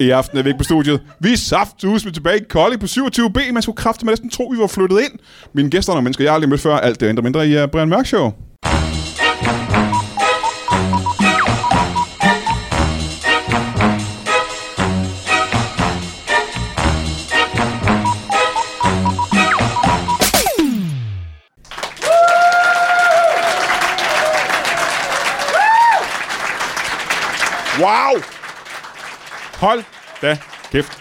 I aften er vi ikke på studiet. Vi er saftus med tilbage i Kolding på 27B. Man skulle kraftigt med næsten tro, vi var flyttet ind. Mine gæster og mennesker, jeg har aldrig mødt før. Alt det ændrer mindre i uh, Brian Mørk Show. Wow! Hold da kæft.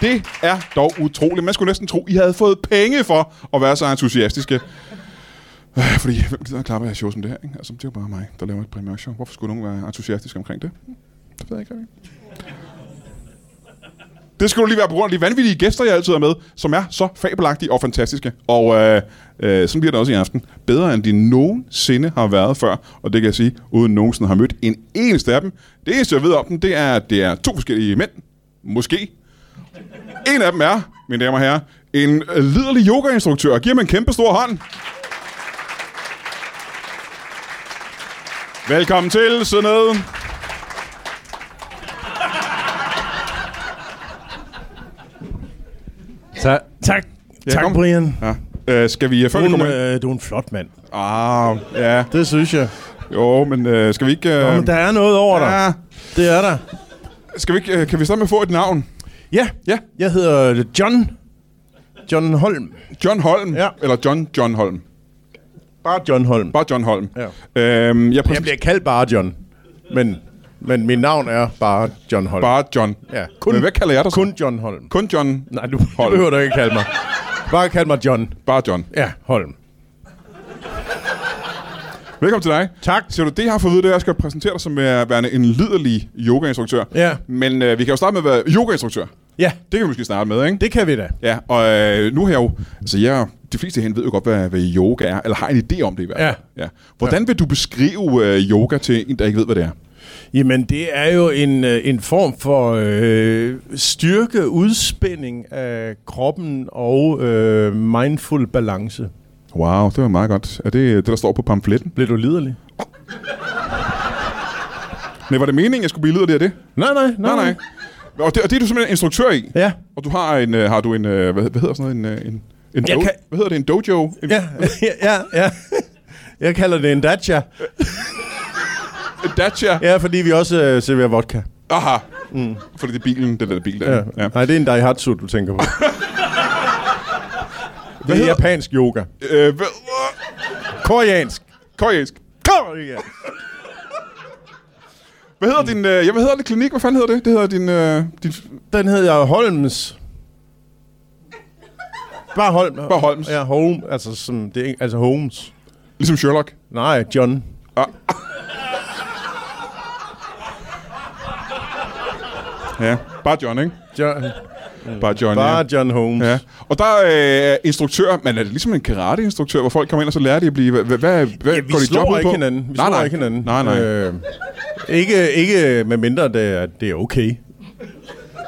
Det er dog utroligt. Man skulle næsten tro, I havde fået penge for at være så entusiastiske. Øh, Fordi hvem gider at klappe af show som det her? Ikke? Altså, det er jo bare mig, der laver et primært show. Hvorfor skulle nogen være entusiastiske omkring det? Det ved jeg ikke rigtig. Det skulle lige være på grund af de vanvittige gæster, jeg altid har med, som er så fabelagtige og fantastiske. Og øh, øh, sådan bliver det også i aften. Bedre end de nogensinde har været før. Og det kan jeg sige, uden nogensinde har mødt en eneste af dem. Det eneste, jeg ved om dem, det er, at det er to forskellige mænd. Måske. En af dem er, mine damer og herrer, en øh, liderlig yogainstruktør. Giv ham en kæmpe stor hånd. Velkommen til, sidde ned. Ta- tak. Ja, tak, kom. Brian. Ja. Øh, skal vi øh, før Du vi er, en, kommer ind? øh, du er en flot mand. Ah, ja. Det synes jeg. Jo, men øh, skal vi ikke... Øh, Nå, men der er noget over dig. ja, Det er der. skal vi ikke øh, kan vi starte med at få et navn? Ja, Ja. jeg hedder John. John Holm. John Holm. Ja. Eller John John Holm. Bare John Holm. Bare John Holm. Ja. Øhm, jeg præcis, Jeg bliver kaldt bare John. Men, men mit navn er bare John Holm. bare John. Ja, Kun, men hvad kalder jeg dig så? Kun John Holm. kun John. Nej, du, du Holm. behøver du ikke kalde mig. Bare kald mig John. Bare John. Ja, Holm. Velkommen til dig. Tak. Ser du, det jeg har fået at vide, det er, at jeg skal præsentere dig som øh, værende en liderlig yogainstruktør. Ja. Men øh, vi kan jo starte med at være yogainstruktør. Ja, Det kan vi måske starte med, ikke? det kan vi da. Ja, og øh, nu her jo, altså jeg, de fleste herinde ved jo godt, hvad, hvad yoga er, eller har en idé om det i hvert fald. Ja. ja. Hvordan vil du beskrive øh, yoga til en, der ikke ved, hvad det er? Jamen, det er jo en, øh, en form for øh, styrke, udspænding af kroppen og øh, mindful balance. Wow, det var meget godt. Er det øh, det, der står på pamfletten? Bliver du liderlig? Men var det meningen, jeg skulle blive liderlig af det? Nej, nej, Ah. nej. nej. Og det, og det er du simpelthen instruktør i? Ja. Og du har en, øh, har du en, øh, hvad, hvad hedder sådan noget, en, øh, en, en Jeg do- kan- hvad hedder det, en dojo? En, Ja, ja, ja. Jeg kalder det en dacha. En dacha? Ja, fordi vi også øh, serverer vodka. Aha. Mm. Fordi det er bilen, den der bil der. Ja. Ja. Nej, det er en daihatsu, du tænker på. det er hedder- japansk yoga. Øh, hvad, Koreansk. koreansk. Koreansk. Hvad hedder din, øh, ja, hvad hedder det klinik? Hvad fanden hedder det? Det hedder din, øh, din Den hedder Holms. Bare Holm. Bare Holms. Ja, Holm. Altså, som, det er, ikke- altså Holmes. Ligesom Sherlock. Nej, John. Ja. Bare John, ikke? John. Bare John, Bare John Holmes. ja. ja. Og der er øh, instruktør, men er det ligesom en karateinstruktør, hvor folk kommer ind, og så lærer de at blive... Hvad, hvad, hvad Ja, går de vi slår jobbet ikke på? hinanden. Vi nej, slår nej. ikke hinanden. Nej, nej. Øh. Øh, ikke, ikke med mindre, det er, det er okay.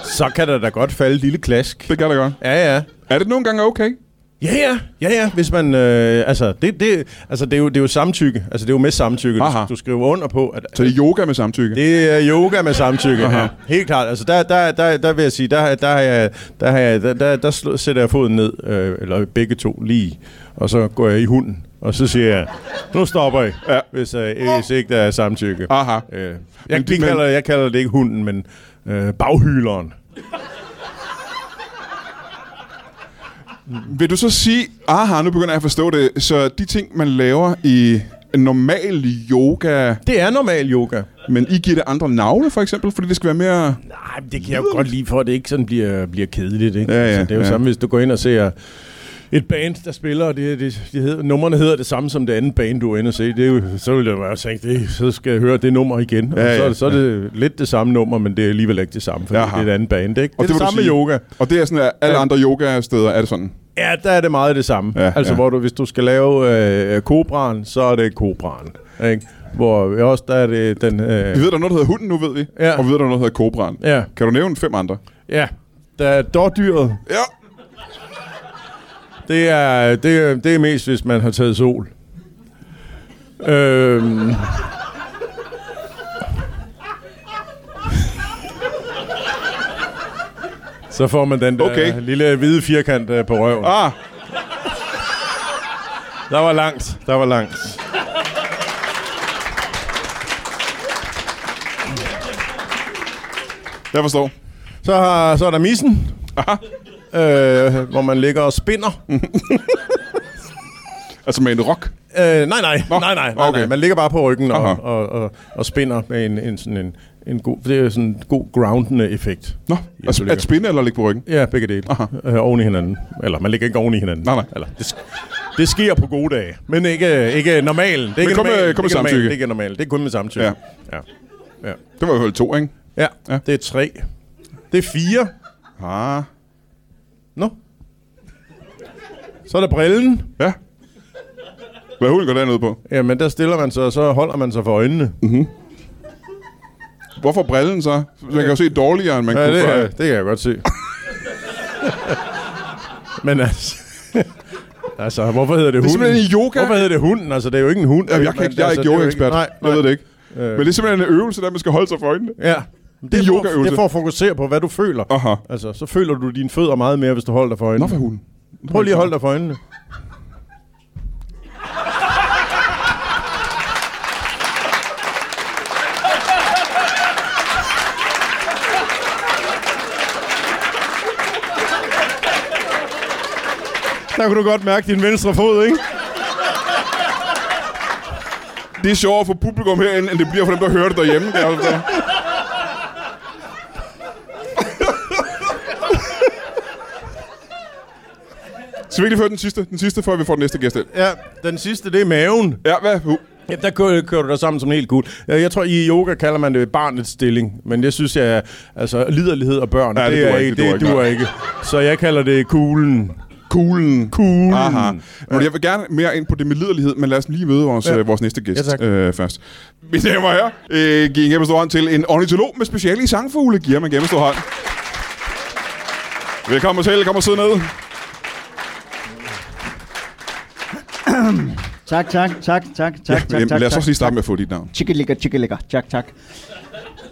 Så kan der da godt falde et lille klask. Det kan det godt. Ja, ja. Er det nogle gange okay? Ja, ja, ja, ja. Hvis man, øh, altså, det, det, altså det, er jo, det er jo samtykke. Altså, det er jo med samtykke. Aha. Du, du skriver under på, at Så det er yoga med samtykke? det er yoga med samtykke. Aha. Ja. Helt klart. Altså, der, der, der, der vil jeg sige, der, der, har jeg, der, har jeg, der, der, der slå, sætter jeg foden ned, øh, eller begge to lige, og så går jeg i hunden, og så siger jeg, nu stopper jeg, Ja. ja. hvis, øh, hvis ikke der er samtykke. Aha. Øh, jeg, Men men, det- de men- kalder, jeg kalder det ikke hunden, men øh, baghyleren. Vil du så sige, aha, nu begynder jeg at forstå det, så de ting, man laver i en normal yoga, Det er normal yoga. men I giver det andre navne, for eksempel, fordi det skal være mere... Nej, men det kan jeg jo godt lide, for at det ikke sådan bliver, bliver kedeligt. Ikke? Ja, ja, altså, det er jo ja. samme, hvis du går ind og ser et band, der spiller, og det, det, de hedder, nummerne hedder det samme som det andet band, du er inde og se. Det er jo, så vil jeg bare tænke, det, så skal jeg høre det nummer igen. Og Ja, så, ja, så er det lidt det samme nummer, men det er alligevel ikke det samme, fordi Jaha. det er et andet band. Ikke? Det er det, vil du samme sige- yoga. Og det er sådan, at alle Ja. andre yoga-steder er det sådan. Ja, der er det meget det samme. Ja, Ja, altså, ja. ja. hvor du, hvis du skal lave øh, kobraen, så er det kobraen. Ikke? Hvor også der er det den... Øh, Vi ved, der er noget, der hedder hunden nu, ved vi. Ja. Og vi ved, der er noget, der hedder kobraen. ja, Kan du nævne fem andre? ja. Der er dårdyret. Ja. Det er, det, er- det er mest, hvis man har taget sol. Øhm. Så får man den der Okay. okay. lille hvide firkant øh, på røven. Ah, Der var langt, der var langt. jeg forstår. Så, har, så er der missen, øh, hvor man ligger og spinner. Mm. Altså med en rock. Øh, nej, nej, Nå, nej, nej, nej, nej. okay. Man ligger bare på ryggen og, Aha. og, og, og spinner med en, en, sådan en, en god, det er jo sådan en god groundende effekt. Nå, Ja, altså du ligger. at spinde eller ligge på ryggen. Ja, begge dele. Aha. Øh, oven i hinanden. Eller man ligger ikke oven i hinanden. Nej, nej. Eller, det, sk- det sker på gode dage, men ikke, ikke normalen. Det er ikke kun med- normalen. kun med det samtykke. er ikke normalen. Det er ikke normalen. Det er kun med samtykke. Ja. Ja. Ja. Det var i hvert fald to, ikke? ja. Ja. ja. Det er tre. Det er fire. Ah, Nå. Så er der brillen. ja. Hvad hulen går dernede på? Jamen, der stiller man sig, og så holder man sig for øjnene. Mm-hmm. Hvorfor brillen så? Man kan jo se dårligere, end man Ja, kunne det, før. er, det kan jeg godt se. Men altså... Altså, hvorfor hedder det, Det er hunden? simpelthen en yoga. Hvorfor hedder det hunden? Altså, det er jo ikke en hund. Altså, Jamen, jeg, kan ikke, jeg er ikke yoga-ekspert. Nej, nej. Jeg ved det ikke. Øh. Men det er simpelthen en øvelse, der man skal holde sig for øjnene. Ja. Det, er for- yogaøvelse. Det er for at fokusere på, hvad du føler. Aha. Altså, så føler du dine fødder meget mere, hvis du holder dig for Nå, øjnene. for hulen. Prøv lige at holde dig for øjnene. Der kunne du godt mærke din venstre fod, ikke? Det er sjovere for publikum herinde, end det bliver for dem, der hører det derhjemme. Det er, jo- Skal vi ikke lige føre den sidste, den sidste, før vi får den næste gæst ind? Ja, den sidste, det er maven. Ja, hvad? Uh, Ja, der kører, kører du dig sammen som en helt gut. Øh, Jeg jeg tror, i yoga kalder man det barnets stilling, men jeg synes, jeg, altså, liderlighed og børn, Ja, det duer er ikke, det det duer ikke, duer ikke. Så jeg kalder det kuglen. Kuglen. Kuglen. Aha. Men jeg vil gerne mere ind på det med liderlighed, men lad os lige møde vores, ja. Ja. øh, vores næste gæst Ja, tak. øh, først. Mine damer og herrer, øh, giv en kæmpe stor hånd til en ornitolog med speciale i sangfugle. Giv ham en kæmpe stor hånd. Velkommen til, kom og sidde ned. Tak, tak, tak, tak, tak, tak, jamen, tak, lad os tak. også lige starte med at få dit navn. Tjekkelækker, tjekkelækker, tak, tak.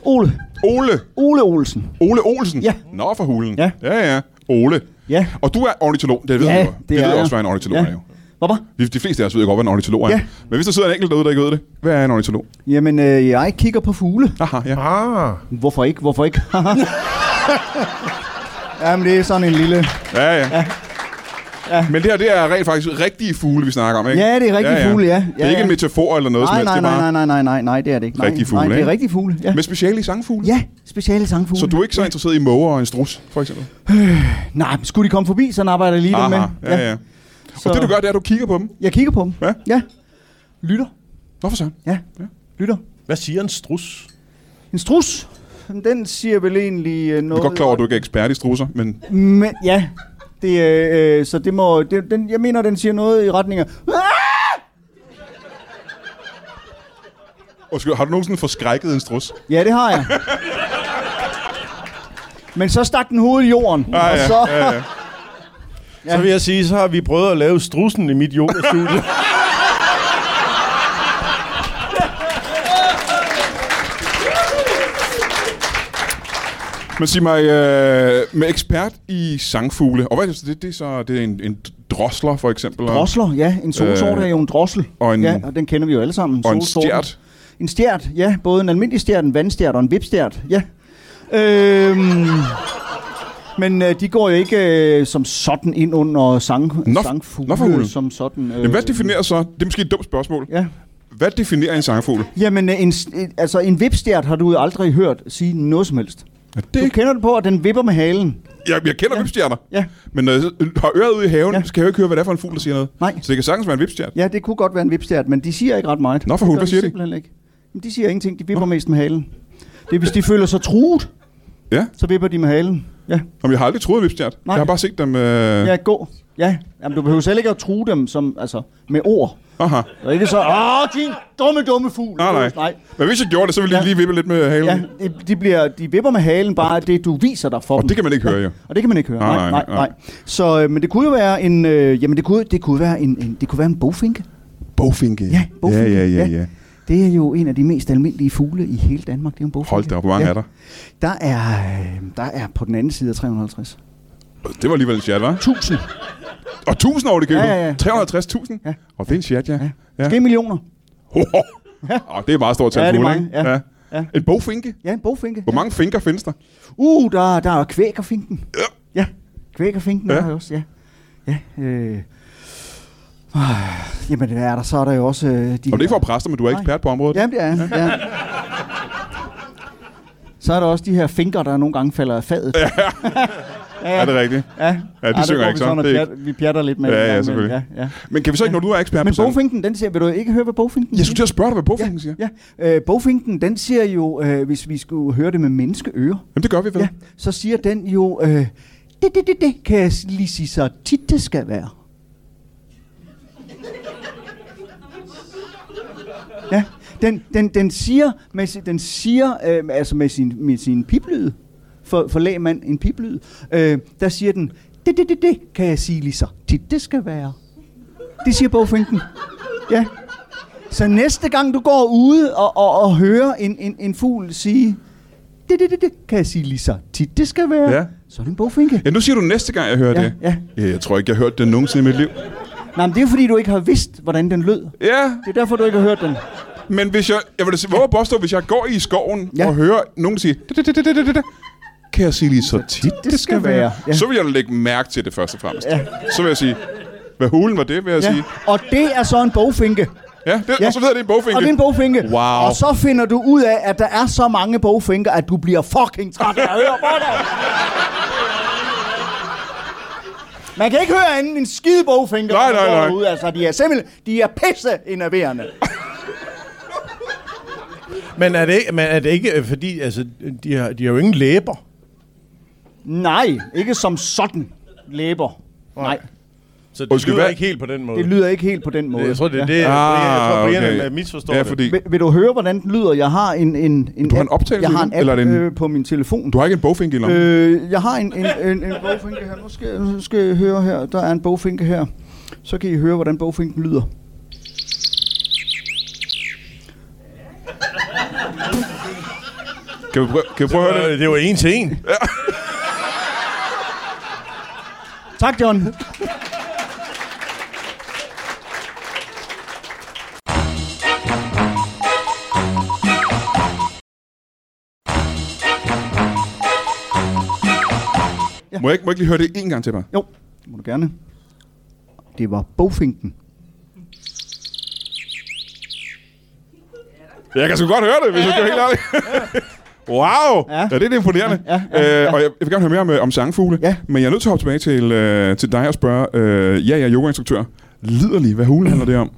Ole, Ole. Ole Olsen. Ole Olsen? Ja. Nå, for hulen. Ja. Ja, ja. Ole. Ja. Og du er ornitolog, det ved Ja, jeg jo. det Det, er ved jeg. også, hvad en ornitolog Ja. er jo. Hvorfor? Vi- De fleste af os ved jo godt, hvad en ornitolog er. Ja. Men hvis der sidder en enkelt derude, der ikke ved det, hvad er en ornitolog? Jamen, øh, jeg kigger på fugle. Aha, ja. Ah. Hvorfor ikke, hvorfor ikke? Jamen, det er sådan en lille... Ja, ja. ja. ja. Men det her, det er rent faktisk rigtige fugle, vi snakker om, ikke? Ja, det er rigtige fugle, ja. Det er Ja, ikke en ja. metafor eller noget som Nej, helst. nej, det er nej, bare nej, nej, nej, nej, nej, det er det ikke. Nej, Rigtig fugle, nej, det ikke? er rigtig fugle, ja. Med speciale i sangfugle? Ja, speciale sangfugle. Så du er ikke så interesseret i måger og en strus, for eksempel? Nej, men skulle de komme forbi, så arbejder jeg lige dem med. Aha, ja, ja. Så Og det du gør, det er, at du kigger på dem. Jeg kigger på dem. Ja. Ja. Lytter. Hvorfor så? Ja. Ja. Lytter. Hvad siger en strus? En strus. Den siger vel egentlig øh, Jeg noget... er godt klar over, at du ikke er ekspert i strusser, men Men ja, det, øh, øh, så det må... Det, den, jeg mener, den siger noget i retning af... "Ah!" Undskyld, har du nogensinde forskrækket en strus? Ja, det har jeg. Men så stak den hovedet i jorden, Ah, og ja, så... ja, ja. Ja. Så vil jeg sige, så har vi prøvet at lave strussen i mit yogastudie. Men sig mig, øh, med ekspert i sangfugle, og hvad er det, så? det, det er så det er en, en drosler for eksempel, og- Drosler, ja. En solsort Øh, er jo en drossel. og en- ja, og den kender vi jo alle sammen. og en solsorten. stjert. En stjert, ja. Både en almindelig stjert, en vandstjert og en vipstjert, ja. Øhm, men øh, de går jo ikke øh, som sådan ind under sang, Nå- sangfugle, nå for hulen. som sådan. Øh, Jamen, hvad definerer så, det er måske et dumt spørgsmål, Ja. hvad definerer en sangfugle? Jamen, øh, en, s- øh, altså, en vipstjert har du jo aldrig hørt sige noget som helst. Ja, Det... det, Du kender den på, at den vipper med halen. jeg, jeg kender ja. vipstjerner, Ja. men når jeg så har øret ude i haven, ja. Ja. så kan jeg jo ikke høre, hvad det er for en fugl, der siger noget. Nej. Så det kan sagtens være en vipstjerne. Ja, det kunne godt være en vipstjert, men de siger ikke ret meget. Nå, for Det hulen, gør hvad siger de? simpelthen Ikke. Jamen, de siger ingenting. De vipper mest med halen. Det er, hvis de føler sig truet, Ja. så vipper de med halen. Ja, Om jeg har aldrig troet en vipstjerne. Nej. Jeg har bare set dem... Øh... ja gå. Ja, Jamen, du behøver selv ikke at true dem som, altså, med ord. Aha. Og ikke så, åh, din dumme, dumme fugl. Nej, nej. nej. Men hvis jeg gjorde det, så ville jeg Ja. lige vippe lidt med halen. Ja, de, de, bliver, de vipper med halen bare af det, du viser dig for Øhm. Og dem. det kan man ikke høre, jo. Og det kan man ikke høre. Nej, Nej, nej, nej, nej. nej. Så, øh, men det kunne jo være en, øh, jamen det kunne, det kunne være en, en, det kunne være en bogfinke. Bogfinke. Ja, bogfinke. Ja, ja, ja, ja. Det er jo en af de mest almindelige fugle i hele Danmark. Det er jo en bogfugle. Hold da op, hvor mange ja. er der? Der er, øh, der er på den anden side af 350. Det var alligevel en chat, hva'? 1000. Og 1000 over det købet. Ja, ja, ja. 350.000? Ja. Og det er en chat, ja. Ja. ja. Måske millioner. Ho, ho. Åh, det er et meget stort tal Ja, det er på mange, ikke? ja. Ja. En bogfinke? Ja, en bogfinke. Hvor mange finker findes der? Uh, der, der er kvækerfinken. Ja. Ja, kvækerfinken Ja. ja. er der også, ja. Ja, øh. Øh, Jamen, hvad er der? Så er der jo også øh, de Og det er ikke for at præste, men du er Nej. ekspert på området. Jamen, det er jeg, ja. Så er der også de her fingre, der nogle gange falder af fadet. Ja, Er det rigtigt? ja. Ja, de der synger går ikke vi sådan. noget Det er pjat, Vi pjatter lidt med Ja, det ja, en gang imellem, selvfølgelig. Ja, ja. Men kan vi så ikke, når du er ekspert Men på sådan... bogfinken, den siger, vil du ikke høre, hvad bogfinken Jeg skulle til at spørge dig, hvad bogfinken siger. Ja, ja. Øh, bogfinken, den siger jo, øh, hvis vi skulle høre det med menneskeører, Jamen, det gør vi vel. ja, så siger den jo, øh, det, det, det, det, kan jeg lige sige så tit det skal være. Ja, den, den, den siger, med, si- den siger øh, altså med sin, med sin piplyd, for, for lægmand en piplyd, øh, der siger den, det, det, det, det, kan jeg sige lige så tit det skal være. Det siger bogfinken. Ja. Så næste gang du går ude og, og, og hører en, en, en fugl sige, det, det, det, det, kan jeg sige lige så tit det skal være, Ja. ja. så er det en bogfinke. Ja, nu siger du næste gang, jeg hører Ja, det. ja. ja. Jeg tror ikke, jeg har hørt det nogensinde i mit liv. Nej, men det er jo fordi, du ikke har vidst, hvordan den lød. Det Ja, er derfor, du ikke har hørt den. men hvis jeg... Jeg vil da sige, hvor påstå, hvis jeg går i skoven Ja. og hører nogen sige... "Det, det, det, det, det, det, det", Kan jeg sige lige så tit, det skal være. Ja. Så vil jeg da lægge mærke til det først og fremmest. Ja. Så vil jeg sige... Hvad hulen var det, vil jeg Ja. sige. Og det er så en bogfinke. Ja, det, ja, og så ved jeg, det er en bogfinke. Og det er en bogfinke. Wow. Og så finder du ud af, at der er så mange bogfinker, at du bliver fucking træt af at høre på det. Man kan ikke høre anden en skide bogfinker. Nej, når man nej, går nej. derude. Altså, de er simpelthen de er pisse enerverende. Men er det ikke, men er det ikke øh, fordi, altså, de har, de har jo ingen læber. Nej, ikke som sådan læber. Nej, Så det Undskyld, lyder hvad? Ah, ikke helt på den måde. det lyder ikke helt på den måde. jeg tror, det er det, Ja. ja. Brian, jeg tror, Brian okay. okay. misforstår ja, det. fordi... Vil, vil du høre, hvordan den lyder? Jeg har en, en, en Du har en app- optagelse Jeg har i en den, app eller er det en- øh, på min telefon. Du har ikke en bogfinke i lommen? Øh, jeg har en, en, en, en bogfinke her. Nu skal, nu skal I høre her. Der er en bogfinke her. Så kan I høre, hvordan bogfinken lyder. Kan vi prøve, kan vi prøve at høre det? Øh, det var en til en. Tak, John. Må jeg ikke, må jeg ikke lige høre det en gang til bare? Jo, det må du gerne. Det var bogfinken. Jeg kan sgu godt høre det, hvis jeg skal være helt ærlig. Wow! Ja. Ja. ja, det er lidt imponerende. Ja, ja, ja, øh, og jeg, jeg vil gerne høre mere om, øh, om sangfugle, Ja. men jeg er nødt til at hoppe tilbage til, øh, til dig og spørge, øh, ja, jeg er yogainstruktør. Liderlig, hvad hulen handler det om?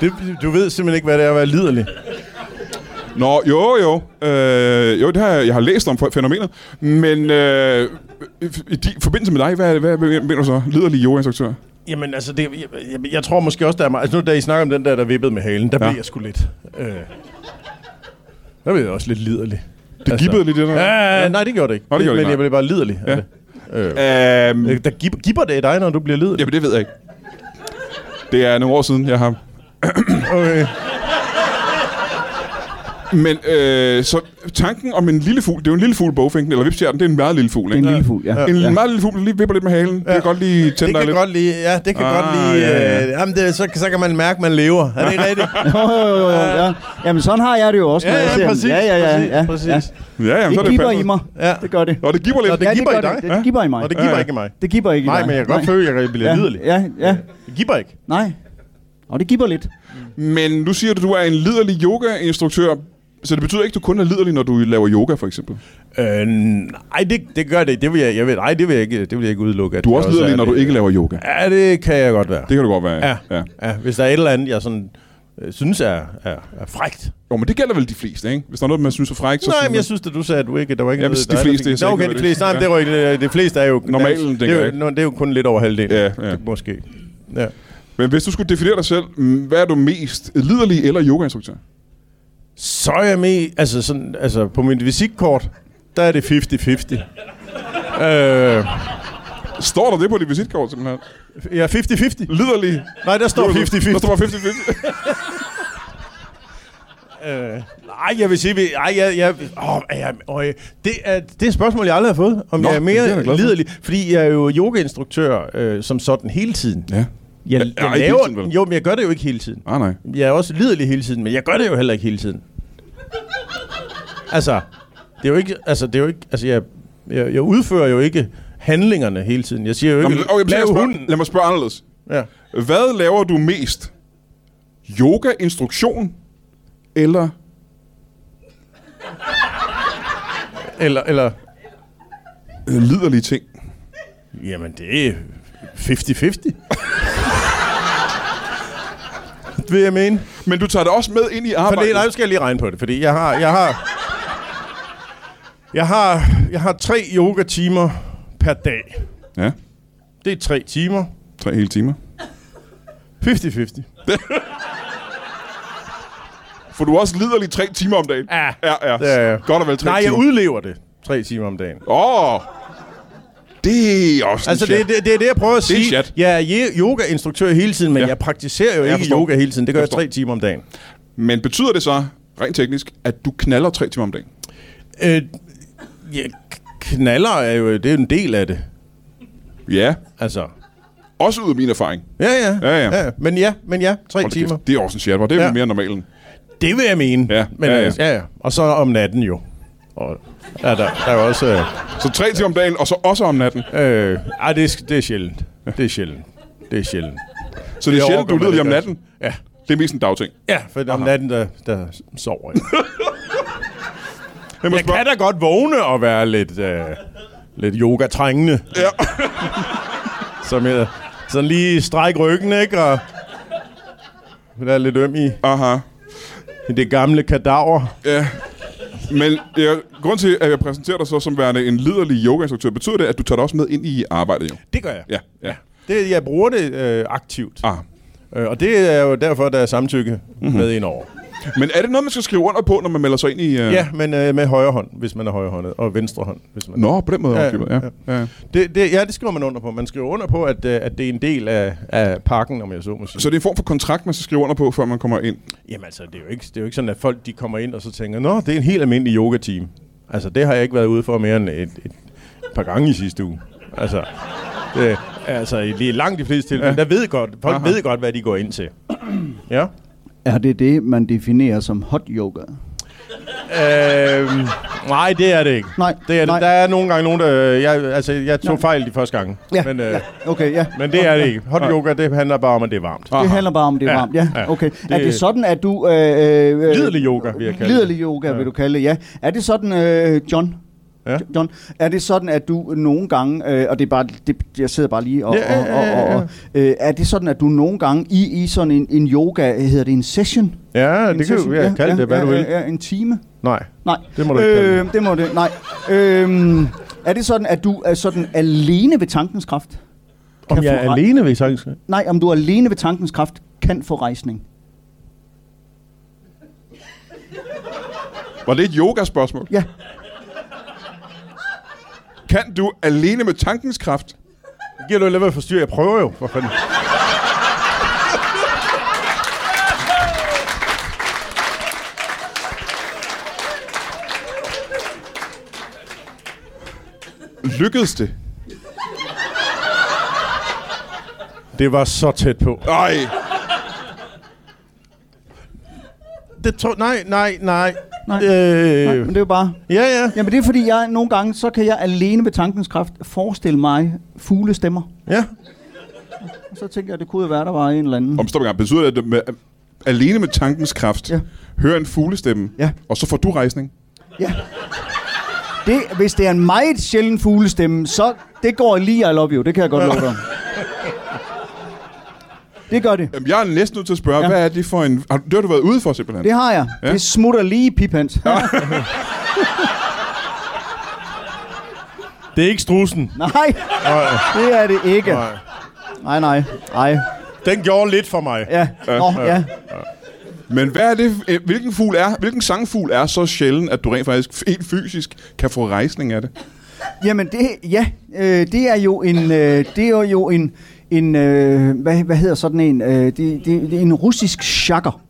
Det, du ved simpelthen ikke, hvad det er at være liderlig. Nå, jo, jo. Øh, jo, det har jeg, jeg har læst om fæ- fænomenet, men øh, i, i, di- forbindelse med dig, hvad, hvad, hvad mener du så? Liderlig yogainstruktør? Jamen, altså, det, jeg, jeg, jeg tror måske også, der er meget... Altså, nu da I snakker om den der, der vippede med halen, der Ja. ja. blev jeg sgu lidt... Øh, der blev jeg også lidt liderlig. Det altså, gibbede lidt, det der. Ja, ja, ja, nej, det gjorde det ikke. Nå, det gjorde det men ikke, jeg blev bare liderlig Ja. af det. Øh, Øhm, øh, der gib, gibber det i dig, når du bliver liderlig? jamen, det ved jeg ikke. Det er nogle år siden, jeg har Okay. Men øh, så tanken om en lille fugl, det er jo en lille fugl bogfinken, eller vipstjernen, det er en meget lille fugl, Det er ikke? en øh, lille fugl, ja. En ja. meget lille fugl, der lige vipper lidt med halen. Det kan godt lige tænde Det dig kan lidt. godt lige, ja, det kan Ah, ah, godt lige, ja, ja, ja. ja. Øh, jamen det, så, så kan man mærke, at man lever. Er det ikke rigtigt? Jo, jo, jo, jo, ja. Jamen, sådan har jeg det jo også, når Ja, jeg ja, ser den. præcis, Ja, ja, ja. præcis, ja, præcis. Ja, jamen, så er Det det gibber fandme- i mig. Ja. Det gør det. Nå, det gibber lidt. Nå, det ja, gibber i det gør dig. Ja. Det, det, det gibber i mig. Og det Ja, giver ja. ikke mig. Det gibber ikke i Nej, mig. men jeg kan godt Nej. føle, at jeg bliver ja, liderlig. Ja, ja. Det giver ikke. Nej. Og det gibber lidt. Men nu siger du, du er en liderlig yogainstruktør, så det betyder ikke, du kun er liderlig, når du laver yoga, for eksempel. Øh, nej, det, det gør det. Det vil jeg, jeg vil, nej, det vil jeg ikke, det vil jeg ikke udelukke. at Du er det også liderlig, når det. du ikke laver yoga. Ja, det kan jeg godt være. Det kan du godt være. Ja. ja. Ja. ja. Hvis der er et eller andet, jeg sådan, øh, synes er, er, er frækt. Jo, men det gælder vel de fleste, ikke? Hvis der er noget, man synes er frækt, så... Så synes Nej, men man- jeg synes, at du sagde, at du ikke... Der var ikke Jamen, noget, de der fleste, så Er, ikke okay, noget de ved fleste. Nej, det. men det var ikke... De fleste er jo... Normalen, det, tænker er jeg. jo, nå, det er jo kun lidt over halvdelen. Ja, ja. Måske. Ja. Men hvis du skulle definere dig selv, mm, hvad er du mest? Liderlig eller yogainstruktør? Så er jeg med... Altså, sådan, altså på mit visitkort, der er det 50-50. øh, Står der det på dit visitkort, simpelthen? Ja, 50-50. Liderlig. Nej, der står 50-50. Der står bare 50-50. Øh, nej, jeg vil sige, vi, ej, jeg, jeg, åh, er jeg, åh, jeg- det, er, det er et spørgsmål, jeg aldrig har fået, om Nå, Nå, jeg er det er jeg da mere glad for. liderlig. Fordi jeg er jo yogainstruktør øh, som sådan hele tiden. ja. Jeg, Ja, jeg, ikke jeg hele laver, tiden, vel? jo, men jeg gør det jo ikke hele tiden. Ah, nej. Jeg er også liderlig hele tiden, men jeg gør det jo heller ikke hele tiden. Altså, det er jo ikke, altså, det er jo ikke, altså, jeg, jeg, jeg udfører jo ikke handlingerne hele tiden. Jeg siger jo ikke, Jamen, okay, lad, lav mig spørge, hunden. lad mig spørge anderledes. Ja. Hvad laver du mest? Yoga, instruktion eller... Eller, eller, øh, Liderlige ting. Jamen, det er 50-50. det vil jeg mene. Men du tager det også med ind i For det, arbejdet. nej, nu skal jeg lige regne på det, fordi jeg har... Jeg har, jeg har, jeg har tre yoga-timer per dag. Ja, Det er tre timer. tre hele timer. 50-50. For du er også liderlig tre timer om dagen. Ja, ja. det er jeg. Godt og vel tre Nej, jeg timer. udlever det tre timer om dagen. Åh! Oh, det er også Altså, en chat. det, det, det er det, jeg prøver at Det er en sige. chat. jeg er je- yoga-instruktør hele tiden, men Ja. ja. jeg praktiserer jo Jeg ikke forstår. yoga hele tiden. Det gør Jeg jeg, tre timer om dagen. Men betyder det så, rent teknisk, at du knaller tre timer om dagen? Øh, ja, k- knaller er jo det er jo en del af det. Ja, Altså, også ud af min erfaring. Ja, ja. Ja, ja. Men ja, men ja, tre Hold da timer. kæft, Det er også en chat, det er ja. Ja. mere normalen. Det vil jeg mene. Ja, men, ja, ja. øh, ja, ja. Og så om natten jo. Og, ja, der, der er jo også... Øh, Så tre timer om dagen, og så også om natten. øh, ej, det, er sk- det er sjældent. Det er sjældent. Det er sjældent. Så det er Jeg sjældent, overgår du mig lyder lige om lidt natten. også. Ja. Det er mest en dagting. Ja, for om natten, der, der sover jeg. Men jeg kan da godt vågne og være lidt, øh, lidt yoga-trængende. Ja. Som jeg, sådan lige stræk ryggen, ikke? Og der er lidt øm i, Aha. i det gamle kadaver. Ja. Men ja, grund til, at jeg præsenterer dig så som værende en liderlig yogainstruktør, betyder det, at du tager dig også med ind i arbejdet jo? Det gør jeg. Ja, ja. Det, jeg bruger det øh, aktivt. Ah. Øh, og det er jo derfor, der er samtykke Mhm. mm-hmm. med indover. Men er det noget, man skal skrive under på, når man melder sig ind i... Uh... Ja, men øh, med højre hånd, hvis man er højrehåndet, og venstre hånd, hvis man Nå, på den måde. Ja, Ja, ja. ja. Det, det, ja, det skriver man under på. Man skriver under på, at, øh, at det er en del af, af pakken, om jeg så må sige. Så det er en form for kontrakt, man skal skrive under på, før man kommer ind. Jamen altså, det er, jo ikke, det er jo ikke sådan, at folk de kommer ind og så tænker, Nå, det er en helt almindelig yoga-team. Altså, det har jeg ikke været ude for mere end et, et par gange i sidste uge. Altså, det, altså i lige langt de fleste tilfælde, ja. der ved godt, folk Aha. Aha. ved godt, hvad de går ind til. ja. Er det det, man definerer som hot yoga? Øhm, nej, det er det ikke. Nej, det er, nej. Der er nogle gange nogen, der... øh, Jeg, altså, jeg tog fejl de første gange. men, øh, ja. Okay, ja. men det er det ikke. Hot yoga, det handler bare om, at det er varmt. Det handler bare om, det er Ja, varmt. Ja, ja. okay. Det- Er det sådan, at du... Øh, øh, øh, Lidelig yoga, vil jeg kalde Liderlig yoga, vil du kalde det, ja. Er det sådan, øh, John? Ja. John, er det sådan, at du nogle gange, øh, og det er bare, det, jeg sidder bare lige og, Ja, og, og, og, og øh, er det sådan, at du nogle gange i, i sådan en, en yoga, hedder det en session? Ja, en det kan du session? ja, kalde det, hvad ja, du vil. Ja, ja, en time? Nej. Nej. Det må du ikke kalde øh, det. må det, nej. Øh, er det sådan, at du er sådan alene ved tankens kraft? Om kan jeg få er ret. alene ved sangen. Nej, om du er alene ved tankens kraft kan få rejsning. Var det et yoga-spørgsmål? Ja, Kan du alene med tankens kraft? Giver du lidt at forstyrre? Jeg prøver jo. For fanden. Lykkedes det? Det var så tæt på. Nej. Det tror... Nej, nej, nej. Nej. nej, Øh, men det er jo bare... ja, ja. Jamen det er fordi, jeg nogle gange, så kan jeg alene ved tankens kraft forestille mig fuglestemmer. ja. Og så tænker jeg, det kunne jo være, der var en eller anden. Om stop en gang. Betyder det, at du med, øh, alene med tankens kraft Ja. hører en fuglestemme, Ja. og så får du rejsning? Ja. Det, hvis det er en meget sjælden fuglestemme, så det går lige I love you. Det kan jeg godt love dig. om. Det gør det. Jamen, jeg er næsten nødt til at spørge, ja. Ja. hvad er det for en... Har, det har du været ude for, simpelthen. Det har jeg. Ja. Ja. Det smutter lige i pipans. Det er ikke strusen. nej, det er det ikke. Nej. Nej, nej. Nej. Den gjorde lidt for mig. Ja. Nå, ja. Men hvad er det, øh, hvilken, fugl er, hvilken sangfugl er så sjælden, at du rent faktisk helt fysisk kan få rejsning af det? Jamen det, ja, øh, det er jo en, øh, det er jo en, en øh, hvad, hvad hedder sådan en? Øh, det, det, det er en russisk chakker.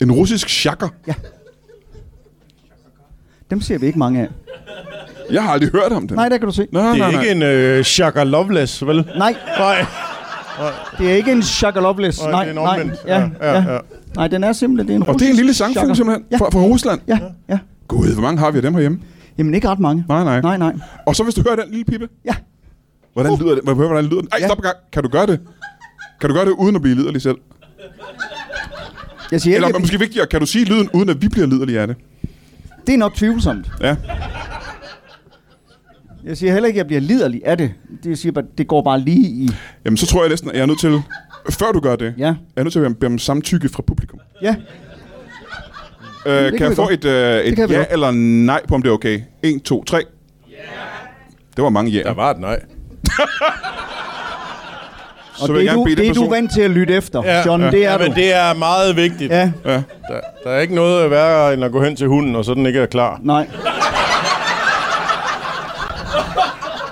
En russisk chakker? Ja. Dem ser vi ikke mange af. Jeg har aldrig hørt om den. Nej, der kan du se. Nå, Det nej, er nej. ikke en øh, Shaka Loveless, vel? Nej, Nej. det er ikke en chakalovles. Nej, det er en nej, omvendt. ja, Ja, ja, ja, ja. Nej, den er simpelthen det er en Og det er en russisk lille sangfugl chakker. simpelthen Ja, fra, fra Rusland. ja, ja. Gud, hvor mange har vi af dem herhjemme? Jamen ikke ret mange. Nej, nej. Nej, nej. Og så hvis du hører den lille pippe, Ja. hvordan lyder det? Må jeg høre, hvordan lyder den? Ej, Uh. Ja. stop en gang. Kan du gøre det? Kan du gøre det uden at blive liderlig selv? Jeg siger Eller ikke, måske vigtigere, kan du sige lyden uden at vi bliver liderlige af det? det er nok tvivlsomt. Ja. Jeg siger heller ikke, at jeg bliver liderlig af det. Det jeg siger bare, det går bare lige i... Jamen, så tror jeg næsten, at jeg er nødt til, før du gør det, Ja. jeg er nødt til at bede om samtykke fra publikum. Ja, Øh, kan kan jeg vi få godt. et, øh, et kan vi ja godt. eller nej på, om det er okay? 1, 2, 3. Det var mange Der ja'er. var et nej. og Så vil jeg det er, gerne du, bede den det er du person- vant til at lytte efter, ja, John. Det er ja, du. men det er meget vigtigt. Ja, Ja. Der, der er ikke noget værre, end at gå hen til hunden, og så den ikke er klar. nej.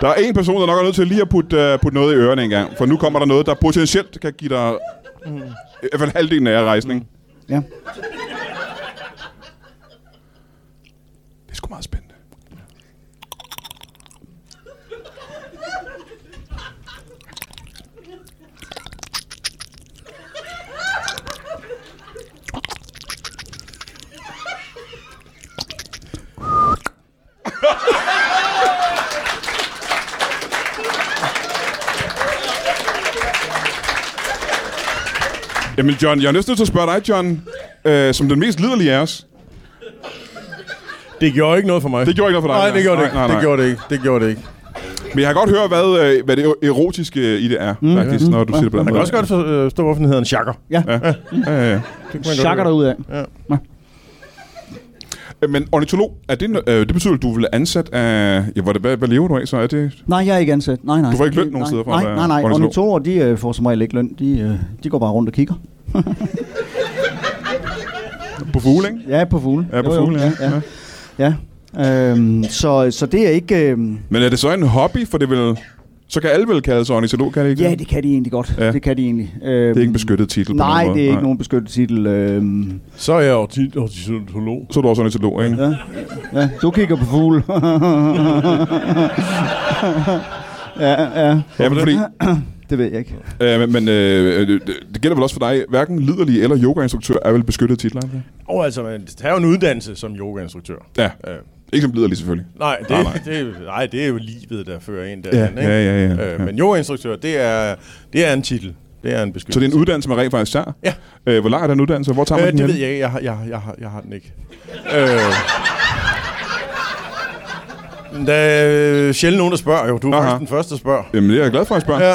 Der er en person, der nok er nødt til lige at putte, øh, putte noget i ørerne engang, for nu kommer der noget, der potentielt kan give dig i hvert fald halvdelen af jer rejsning. Ja. Det er sgu meget spændende. Jamen John, jeg er næsten nødt til at spørge dig, John, øh, som den mest liderlige af os. Det gjorde ikke noget for mig. Det gjorde ikke noget for dig, Nej, det gjorde det nej. Nej, nej, nej. ikke. Det gjorde det ikke. Det gjorde det ikke. Men jeg kan godt høre, hvad, øh, hvad det erotiske i det er, mm. faktisk, når du siger det på den Man måde. kan også godt øh, forstå, hvorfor den hedder en chakker. Ja, Ja. Ja, ja, chakker dig ud af. ja. Øh, Men ornitolog, er det, no- øh, det betyder, at du vil ansat af... Ja, hvad, hvad, hvad lever du af så? Er det, Nej, jeg er ikke ansat. Nej, nej. Du får ikke løn Det- nogen nej, steder fra at Nej, være nej, nej. ornitolog. Ornitologer, de øh, får som regel ikke løn. De, øh, de går bare rundt og kigger. på fugle, ikke? Ja, på fugle. Ja, på Jo, jo, fugle, ja. ja. ja. Øhm, så, så det er ikke... Øhm, Men er det så en hobby, for det vil... Så kan alle vel kalde sig ornitolog, kan det ikke? ja, det kan de egentlig godt. Ja. Ja. Det kan de egentlig. Øhm, det Det er ikke en beskyttet titel på Nej, nogen måde. det er ikke nogen beskyttet titel. Øhm, Så er jeg orti- ornitolog. Så er du også ornitolog, ikke? ja. ja, du kigger på fugle. ja, ja. Ja, men fordi, Det ved jeg ikke. øh, men- men øh, det, det gælder vel også for dig, hverken liderlig eller yogainstruktør er vel beskyttet titler? er det? Og altså, man tager jo en uddannelse som yogainstruktør. Ja, Øh, ikke som liderlig selvfølgelig. nej, det, Nej, nej. nej, nej. Det, er jo- nej, det er jo livet, der fører en Ja, der. ikke? ja, ja, ja, øh, ja. Men yogainstruktør, det er, det er en titel. Det er en Så beskyttelse. det er en uddannelse, man rent faktisk tager? Ja. Øh, hvor lang er den uddannelse? Hvor tager man øh, den det hen? ved jeg ikke. Jeg har, jeg, har- jeg, har, jeg har den ikke. øh, men der er øh, sjældent nogen, der spørger jo. Du er Aha. faktisk den første, der spørger. Jamen, det er jeg glad for, at jeg spørger. Ja.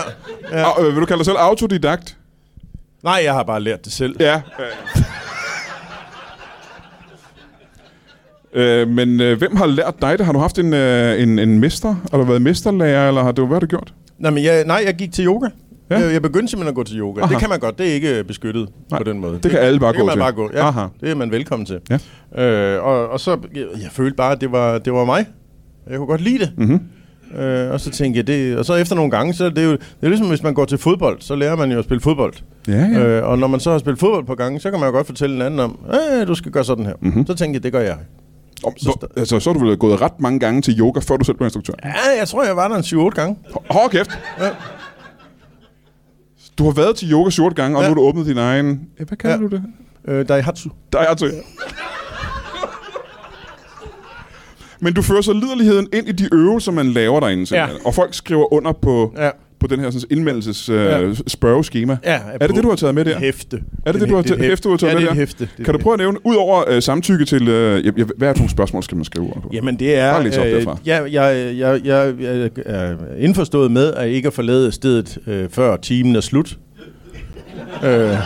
Ja. Og, øh, vil du kalde dig selv autodidakt? Nej, jeg har bare lært det selv. Ja. øh, men øh, hvem har lært dig det? Har du haft en, øh, en, en mester? Har du været mesterlærer, eller har du, hvad har du gjort? Nej, men jeg, nej, jeg gik til yoga. Ja. Ja. Jeg, jeg begyndte simpelthen at gå til yoga. Aha. Aha. Det kan man godt. Det er ikke øh, beskyttet Nej, Nej, på den måde. det kan alle bare det kan gå man til. Bare gå. Ja, Aha. Aha. Det er man velkommen til. Ja. Øh, og, og så, jeg, jeg følte bare, at det var, det var mig. Jeg kunne godt lide det. Mhm. Mm-hmm. Øh, og så tænkte jeg, det, og så efter nogle gange, så er det jo, det er ligesom, hvis man går til fodbold, så lærer man jo at spille fodbold. Ja, ja. Øh, og når man så har spillet fodbold på gange, så kan man jo godt fortælle en anden om, øh, du skal gøre sådan her. Mhm. Mm-hmm. Så tænkte jeg, det gør jeg. Om, hvor, altså, så har du vel gået ret mange gange til yoga, før du selv blev instruktør? Ja, jeg tror, jeg var der en 7-8 gange. Hold kæft! Ja. Du har været til yoga 7 gange, og ja. Ja. nu har du åbnet din egen... Ja, hvad kalder ja. Ja. du det? Øh, Daihatsu. Der er til. Men du fører så liderligheden ind i de øvelser, man laver derinde. Simpelthen. Ja. Ja. Og folk skriver under på, ja. Ja. på den her sådan, indmeldelses øh, Ja. spørgeskema. Ja, er det det, du har taget med der? Hæfte. Er det det, du har er et taget- hæfte, du har taget ja, med det er et der? hæfte. Det er Kan du et prøve at nævne, udover øh, samtykke til... Øh, jeg, jeg, hvad er det for nogle spørgsmål, skal man skrive under på? Jamen det er... øh, Bare lige top derfra. jeg, jeg, jeg, jeg, jeg er indforstået med, at ikke at forlade stedet, øh, før timen er slut. øh,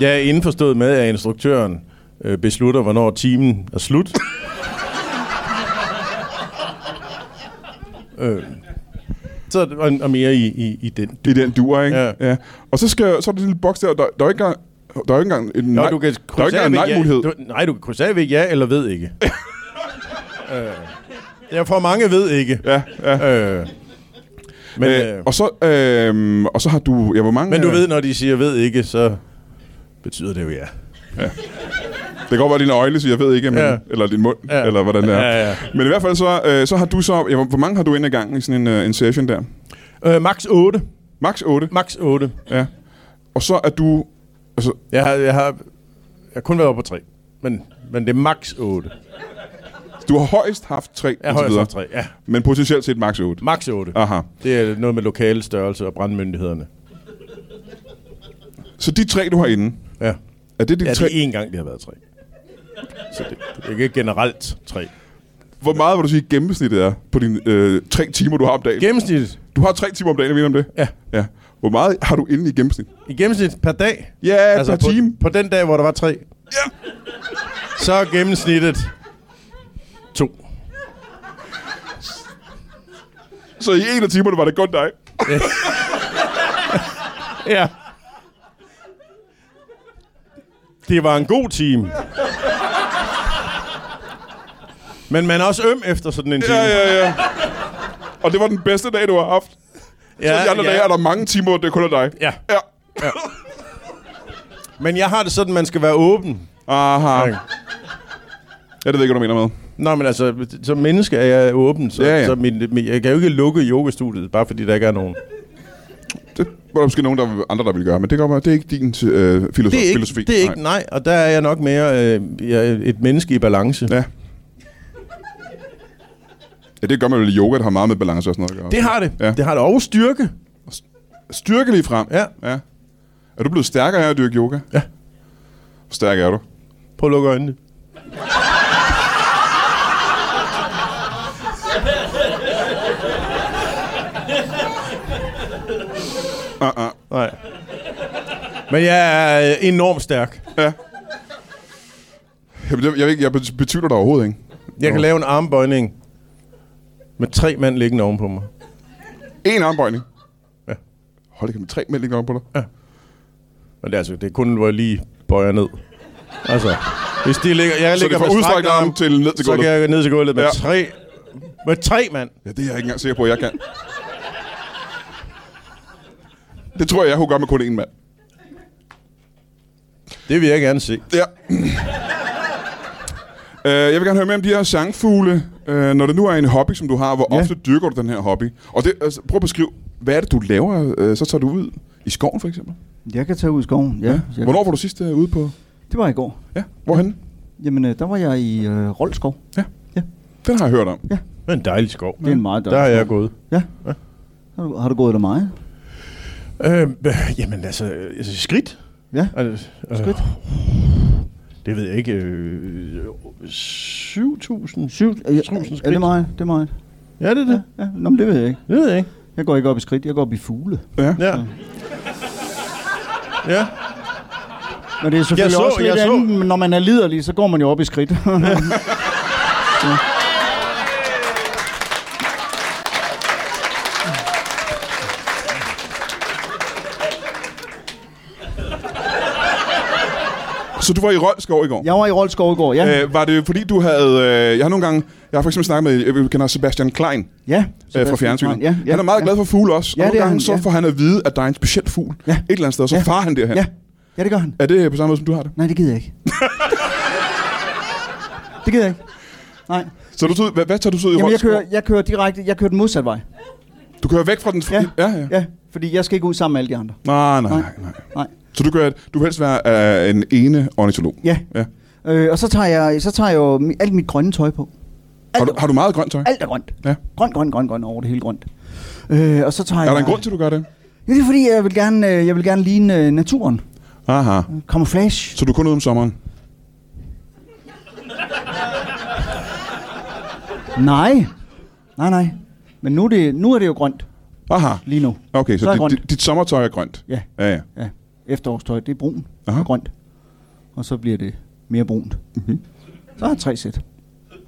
jeg er indforstået med, at instruktøren øh, beslutter, hvornår timen er slut. øh, så er det- og, og mere i, i, i den. I den dur, ikke? Ja. ja. Og så, skal, så er der en lille boks der, der, der er ikke engang... Der er ikke engang en Nå, nej, du kan der er krydse ikke af engang en ved nej-mulighed. Ja, du, nej, du kan krydse af ved ja eller ved ikke. øh, jeg får mange ved ikke. Ja, ja. Men, Øh, Men, øh, øh, og, så, øh, og så har du... Ja, hvor mange... Men du øh, ved, når de siger ved ikke, så betyder det jo ja. Det kan godt være, at dine øjne siger, jeg ved ikke, men, ja. Ja. eller din mund, ja. Ja. eller hvordan det er. Ja, ja. Men i hvert fald så, øh, så har du så... Ja, hvor, hvor mange har du ind i gangen i sådan en, øh, en session der? Øh, max 8. Max 8? Max 8. Ja. Og så er du... Altså, Jeg har, jeg har, jeg har kun været oppe på 3. Men, men det er max 8. du har højst haft 3, Jeg har højst 3, ja. men potentielt set max 8. Max 8. Aha. Det er noget med lokale størrelse og brandmyndighederne. Så de tre, du har inde, Ja. er det de Ja, tre... det er én gang, det har været 3. Så det, det er ikke generelt 3. Hvor meget vil du sige gennemsnittet er på dine øh, tre timer, du har om dagen? Gennemsnit. du har tre timer om dagen, er vi enige om det? Ja. ja. Hvor meget har du inde i gennemsnit? I gennemsnit per dag. Ja, per Altså, på, time. På den dag, hvor der var 3. Ja. Så er gennemsnittet 2. Så i en af timerne var det godt dig. Ja. Det var en god time. Men man er også øm efter sådan en time. Ja, ja, ja. Og det var den bedste dag, du har haft. Ja, så de andre ja. dage er der mange timer, hvor det kun er dig. Ja. Ja. Men jeg har det sådan, man skal være åben. Aha. Okay. Ja, det ved jeg ikke, hvad du mener med. Nå, men altså, som menneske er jeg åben, så, Ja, ja. så min, min, jeg kan jo ikke lukke yogastudiet, bare fordi der ikke er nogen. Det var der måske nogen der, andre, der ville gøre, men det, kommer, det er ikke din øh, filosofi. Det er ikke, filosofi. det er ikke nej. og der er jeg nok mere øh, jeg er et menneske i balance. Ja. ja, det gør man vel i yoga, der har meget med balance og sådan noget at gøre. Det har det. Ja. Ja. Det har det. Og styrke. Styrke lige frem. Ja. ja. Er du blevet stærkere af at dyrke yoga? Ja. Hvor stærk er du? Prøv at lukke øjnene. Uh-uh. Nej. Men jeg er øh, enormt stærk. Ja. Jamen, det- Jeg, ved ikke, jeg betyder dig overhovedet ikke. Jeg kan lave en armbøjning med tre mand liggende ovenpå mig. En armbøjning. Ja. Hold da kæft, med tre mænd ligger på dig. Men det er, altså, det er kun, hvor jeg lige bøjer ned. Altså, hvis de ligger... Jeg Så det ligger er fra med udstrakt strakt arm til ned til Så gulvet. kan jeg gå ned til gulvet med Ja. ja. tre... Med tre mand. Ja, det er jeg ikke engang sikker på, at jeg kan. Det tror jeg, jeg kunne gøre med kun én mand. Det vil jeg gerne se. Ja. Uh, jeg vil gerne høre mere om de her sangfugle, uh, når det nu er en hobby, som du har. Hvor Ja. ofte dyrker du den her hobby? Og det, altså, prøv at beskrive, hvad er det, du laver? Uh, så tager du ud i skoven, for eksempel? Jeg kan tage ud i skoven, ja. ja. Hvornår var du sidst uh, ude på? Det var i går. Ja, hvorhen? Jamen, øh, der var jeg i øh, Roldskov. Ja. Ja. Den har jeg hørt om. Det er en dejlig skov. Det er en meget Der har dejlig jeg gået. Ja. Har du, har du gået der meget? Øh, øh, jamen altså, øh, altså, skridt. Ja. Altså, øh, Skridt. Det ved jeg ikke. Øh, 7.000? Syv, øh, Tusind er skridt. det meget? Det er meget. Ja, det er Ja, det. ja. Nå, men det ved jeg ikke. Det ved jeg ikke. Jeg går ikke op i skridt, jeg går op i fugle. Ja. Ja. Ja. Men det er selvfølgelig så- også lidt jeg så- andet, men når man er liderlig, så går man jo op i skridt. Så du var i Rolskov i går? jeg var i Roldskov i går, ja. Øh, Øh, var det fordi, du havde... Øh, jeg har nogle gange... Jeg har for eksempel snakket med... Jeg kender Sebastian Klein ja. øh, fra fjernsynet. Ja, ja, han er meget ja. glad for fugle også. Ja, og det nogle er gange han, så ja. får han at vide, at der er en speciel fugl Ja. et eller andet sted, og så Ja. farer han derhen. Ja. ja, det gør han. Er det på samme måde, som du har det? Nej, det gider jeg ikke. det gider jeg ikke. Nej. Så du tog, hvad, hvad tager du så ud i Jamen, jeg Rolskov? kører, jeg kører direkte, jeg kører den modsatte vej. Du kører væk fra den... Ja. ja, ja. Ja, fordi jeg skal ikke ud sammen med alle de andre. Nej, nej, nej, Nej. nej. Nej. Så du, kører, du vil helst være øh, en ene ornitolog? Ja. ja. Øh, og så tager jeg, så tager jeg jo mi- alt mit grønne tøj på. Har, Alt, du, har du meget grønt tøj? alt er grønt. Ja. Grønt, grønt, grønt, grønt over det hele grønt. Øh, og så tager Er jeg, der en grund til, at du gør det? Ja, det er fordi, jeg vil gerne, øh, jeg vil gerne ligne øh, naturen. Aha. Camouflage. Så du er kun ude om sommeren? Nej. Nej, nej. Men nu er det, nu er det jo grønt Aha. lige nu. Okay, så, Så er det dit, grønt. dit, dit sommertøj er grønt? Ja. Ja, ja. Ja. Efterårstøj, det er brun Aha. og grønt. Og så bliver det mere brunt. Mm-hmm. Så er der tre sæt. Mhm.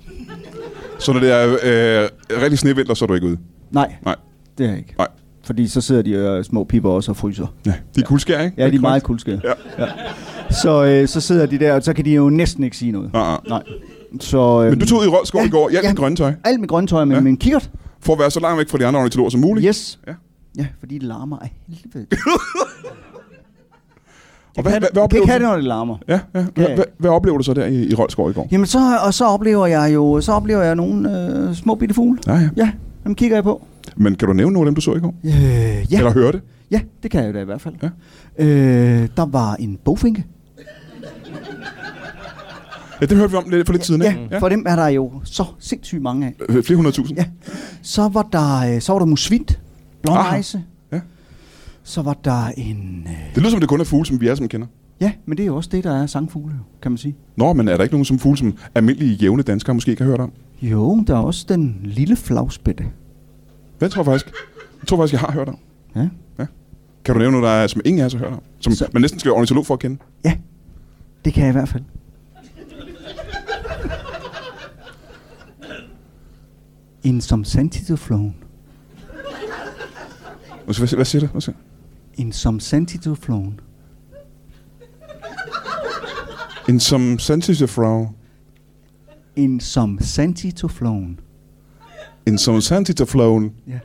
Så når det er øh, rigtig snevinter, så er du ikke ude? Nej, Nej, det er jeg ikke. nej. Fordi så sidder de øh, små piber også og fryser. Ja, de er kuldskær, ikke? Ja, de er grønt. meget kuldskære. Ja. Så, øh, så sidder de der, og så kan de jo næsten ikke sige noget. Ah, ah. Nej. Så, øh, Men du tog ud i Rolskov ja, Ja, i går, i alt ja. dit grønne tøj. alt mit grønne tøj med Ja. ja. min kikkert. for at være så langt væk fra de andre ornitologer som muligt. Yes. Ja. Ja, fordi det larmer af helvede. Og hvad, hvad, hvad, Jeg kan oplever ikke have du? det, når det larmer. Ja, ja. Hvad, jeg hvad, hvad oplever du så der i, i Rolskov i går? Jamen, så, og så oplever jeg jo så oplever jeg nogle øh, små bitte fugle. Ja, ja. Ja, dem kigger jeg på. Men kan du nævne nogle af dem, du så i går? Øh, ja. Eller hørte? ja, det kan jeg jo da i hvert fald. Ja. Øh, der var en bogfinke. Ja, det hørte vi om lidt for lidt siden. Ja, ikke? for dem er der jo så sindssygt mange af. Øh, Flere hundrede tusind. Ja. Så var der, øh, så var der musvint, Aha. blåmejse. Ja. Så var der en... Øh, Det lyder som, det kun er fugle, som vi alle sammen kender. ja, men det er jo også det, der er sangfugle, jo, kan man sige. Nå, men er der ikke nogen som fugle, som almindelige jævne danskere måske ikke har hørt om? Jo, der er også den lille flagspætte. Den tror jeg faktisk, den tror jeg faktisk, jeg har hørt om. Ja. Kan du nævne noget, der er, som ingen af os har hørt om? Som Så- man næsten skal være ornitolog for at kende. ja, det kan jeg i hvert fald. En som santitofloven. Hvad, hvad, hvad siger det? Hvad siger? du? En som santitofloven. En som Santitafrau. En som santitofloven. En som Santitaflown. Ja.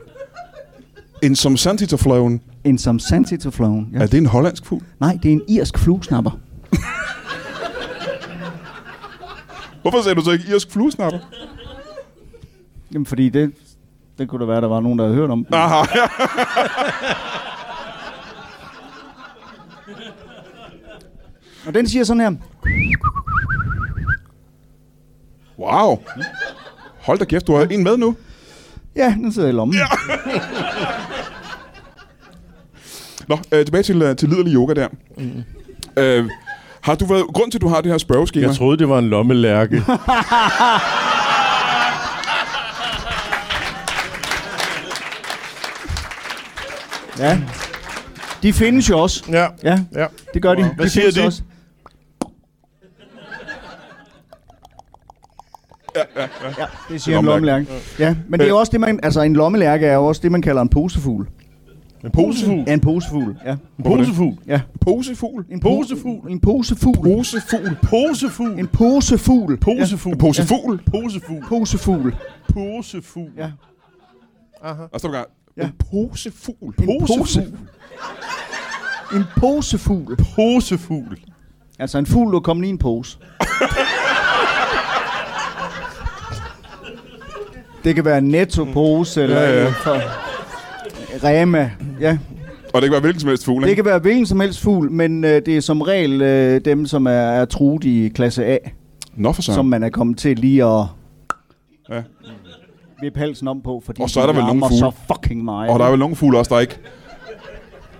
En som Santitaflown. En som santitofloven. Ja. Er det en hollandsk fugl? Nej, det er en irsk fluesnapper. Hvorfor sagde du så ikke irsk fluesnapper? Jamen, fordi det, det kunne da være, der var nogen, der havde hørt om. Aha, ja. Og den siger sådan her. Wow. Hold da kæft, du har en med nu. Ja, den sidder i lommen. Ja. Nå, øh, tilbage til, øh, til liderlig yoga der. Mm. Øh, har du været... Grunden til, at du har det her spørgeskema... Jeg troede, det var en lommelærke. ja. De findes jo også. ja. Ja, ja. det gør de. Hvad de siger findes de? Også. Ja, det siger en lommelærke. Ja, men det er jo Øh. også det, man... Altså, en lommelærke er jo også det, man kalder en posefugl. En posefugl. Ja, en posefugl. Ja, En posefugl. ja. Posefugl. En Posefugl. En posefugl. Posefugl. Posefugl. En posefugl. posefugl. Posefugl. Posefugl. Posefugl. Posefugl. Ja. Og så gang. Ja. En posefugl. En Posefugl. En posefugl. Posefugl. Altså en fugl, der kommer i en pose. det kan være en netto-pose, eller Ja, ja, ja. ja. For Rema. Ja, Og det kan være hvilken som helst fugl, det ikke? kan være hvilken som helst fugl, men øh, det er som regel øh, dem, som er, er truet i klasse A, Nå for ja. søren. som man er kommet til lige at Ja. vippe halsen om på, fordi Og så er der de vel nogle larmer fugle. så fucking meget. Og der er vel nogle fugle også, der ikke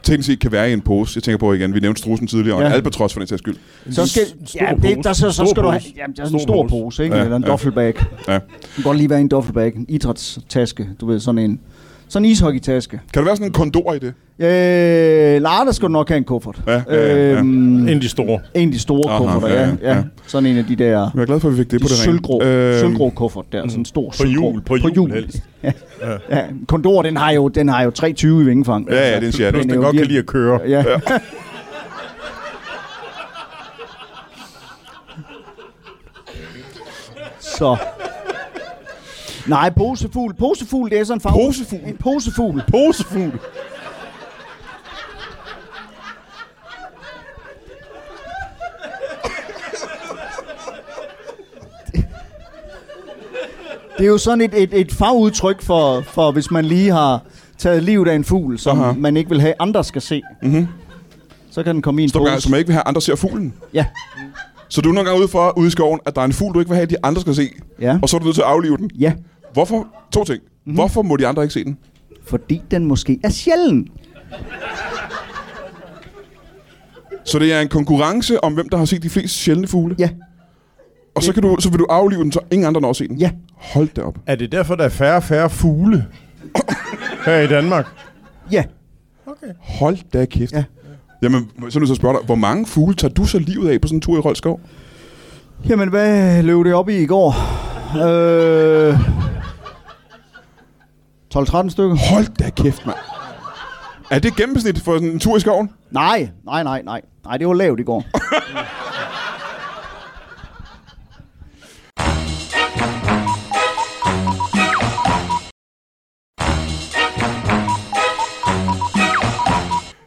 teknisk set kan være i en pose. Jeg tænker på igen, vi nævnte strusen tidligere, og en Ja. albatros for den sags skyld. så skal, stor ja, det, pose. der, så, så Stor skal du have pose. jamen, det er sådan en Stor stor pose. pose, ikke? Ja, Ja, eller en ja. ja. duffelbag. Ja. Det kan godt lige være en duffelbag, en idrætstaske, du ved, sådan en, sådan en ishockeytaske. Kan der være sådan en kondor i det? Øh, Lada skal du nok have en kuffert. Ja, ja, ja. Øhm, En af de store. En af de store Aha, kufferter, ja, ja, ja, ja, ja. Sådan en af de der Jeg er glad for, at vi fik det på Øhm, det sølvgrå, rene. øh, sølvgrå kuffert der, sådan en stor På sølvgrå. hjul, på hjul helst. ja. ja. Kondor, den har jo, den har jo 320 i vingefang. Ja, ja, det er en sjat. Plus, Den er den jo godt kan virkelig- lide at køre. Ja. Så. Nej, posefugl. Posefugl, det er sådan en farve. Posefugl? En posefugl. Posefugl. Det er jo sådan et, et, et fagudtryk for, for, hvis man lige har taget livet af en fugl, som Aha. Mhm. Aha. man ikke vil have, andre skal se. Mm-hmm. Så kan den komme i en Stå gang, pose. som jeg ikke vil have, andre ser fuglen. Ja. Så du er nogle gange ude for, ude i skoven, at der er en fugl, du ikke vil have, de andre skal se. Ja. Mhm. Og så er du nødt til at aflive den. ja, Hvorfor? To ting. Mm-hmm. Hvorfor må de andre ikke se den? fordi den måske er sjælden. Så det er en konkurrence om, hvem der har set de flest sjældne fugle. Ja, Og så, kan du, så vil du aflive den, så ingen andre når at se den. ja. Hold da op. Er det derfor, der er færre og færre fugle her i Danmark? Ja, Okay. Hold da kæft. Ja. Jamen, så er jeg nødt til at spørge dig, hvor mange fugle tager du så livet af på sådan en tur i Rolskov? Jamen, hvad løb det op i i går? Øh, 12-13 stykker? Hold da kæft, mand. Er det gennemsnit for sådan en tur i skoven? Nej, nej, nej, nej. Nej, det var lavt i går.